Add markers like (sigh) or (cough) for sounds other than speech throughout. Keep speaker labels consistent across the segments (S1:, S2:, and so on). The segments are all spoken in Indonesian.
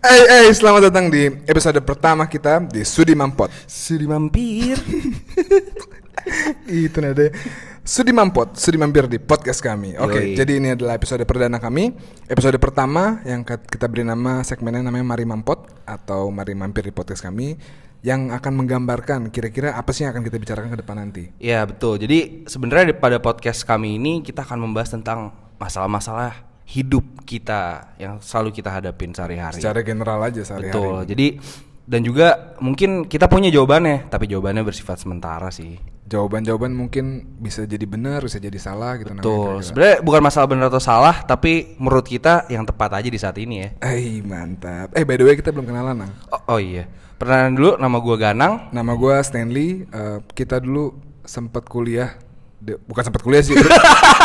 S1: Hai, hai, selamat datang di episode pertama kita di Sudi Mampot.
S2: Sudi mampir.
S1: Itu nada. Sudi Mampot, Sudi Mampir di podcast kami. Oke,
S2: Yoi.
S1: jadi ini adalah episode perdana kami. Episode pertama yang ke- kita beri nama segmennya namanya Mari Mampot atau Mari Mampir di podcast kami yang akan menggambarkan kira-kira apa sih yang akan kita bicarakan ke depan nanti.
S2: ya betul. Jadi sebenarnya pada podcast kami ini kita akan membahas tentang masalah-masalah hidup kita yang selalu kita hadapin sehari-hari.
S1: Secara general aja sehari-hari.
S2: betul. Jadi dan juga mungkin kita punya jawabannya, tapi jawabannya bersifat sementara sih.
S1: Jawaban-jawaban mungkin bisa jadi benar, bisa jadi salah gitu namanya
S2: Betul.
S1: kira-kira.
S2: Sebenarnya bukan masalah benar atau salah, tapi menurut kita yang tepat aja di saat ini ya.
S1: Hai, mantap. Eh, by the way kita belum kenalan, Nang.
S2: Oh, oh iya. Perkenalan dulu nama gua Ganang.
S1: Nama gua Stanley. eh, kita dulu sempat kuliah, di- bukan sempat kuliah
S2: (laughs)
S1: sih.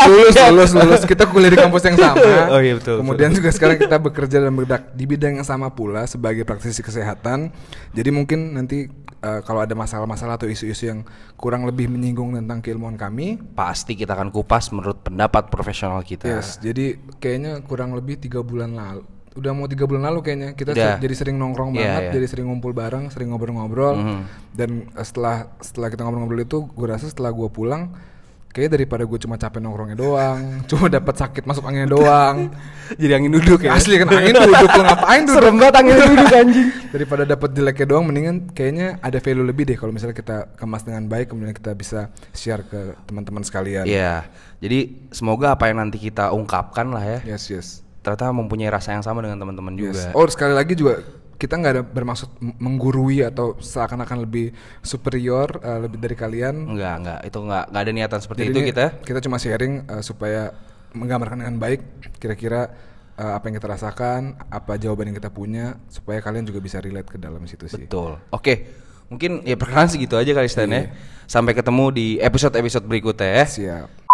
S1: lulus, lulus, lulus. Kita kuliah di kampus yang sama.
S2: Oh iya, betul,
S1: Kemudian juga sekarang kita bekerja dan berdak di bidang yang sama pula sebagai praktisi kesehatan. Jadi mungkin nanti eh, kalau ada masalah-masalah atau isu-isu yang kurang lebih menyinggung tentang keilmuan kami,
S2: Pasti kita akan kupas menurut pendapat profesional kita.
S1: Yes, jadi kayaknya kurang lebih tiga bulan lalu. Udah mau tiga bulan lalu kayaknya kita
S2: Udah.
S1: ser- jadi sering nongkrong
S2: Iya,
S1: banget,
S2: iya. Mm-hmm.
S1: jadi sering ngumpul bareng, sering ngobrol-ngobrol. Dan eh, setelah setelah kita ngobrol-ngobrol itu, gue rasa setelah gue pulang, kayaknya daripada gue cuma capek nongkrongnya doang, (laughs) cuma dapat sakit masuk anginnya doang.
S2: (laughs) Jadi angin duduk ya.
S1: Asli kan angin duduk lu
S2: (laughs)
S1: ngapain duduk?
S2: Serem banget angin duduk anjing.
S1: (laughs) daripada dapat jeleknya doang mendingan kayaknya ada value lebih deh kalau misalnya kita kemas dengan baik kemudian kita bisa share ke teman-teman sekalian.
S2: Iya. Jadi semoga apa yang nanti kita ungkapkan lah ya.
S1: Yes, yes.
S2: Ternyata mempunyai rasa yang sama dengan teman-teman juga.
S1: Iya. Yes. Oh sekali lagi juga kita nggak ada bermaksud m- menggurui atau seakan-akan lebih superior eh, lebih dari kalian.
S2: Enggak, enggak. Itu enggak enggak ada niatan seperti
S1: Jadi Iya.
S2: itu
S1: ini
S2: kita.
S1: Kita cuma sharing eh, supaya menggambarkan dengan baik kira-kira eh, apa yang kita rasakan, apa jawaban yang kita punya supaya kalian juga bisa relate ke dalam situ sih.
S2: Betul. Oke.
S1: Iya.
S2: Mungkin ya perkenalan segitu aja kali Stan ya. Sampai ketemu di episode-episode berikutnya ya.
S1: Siap.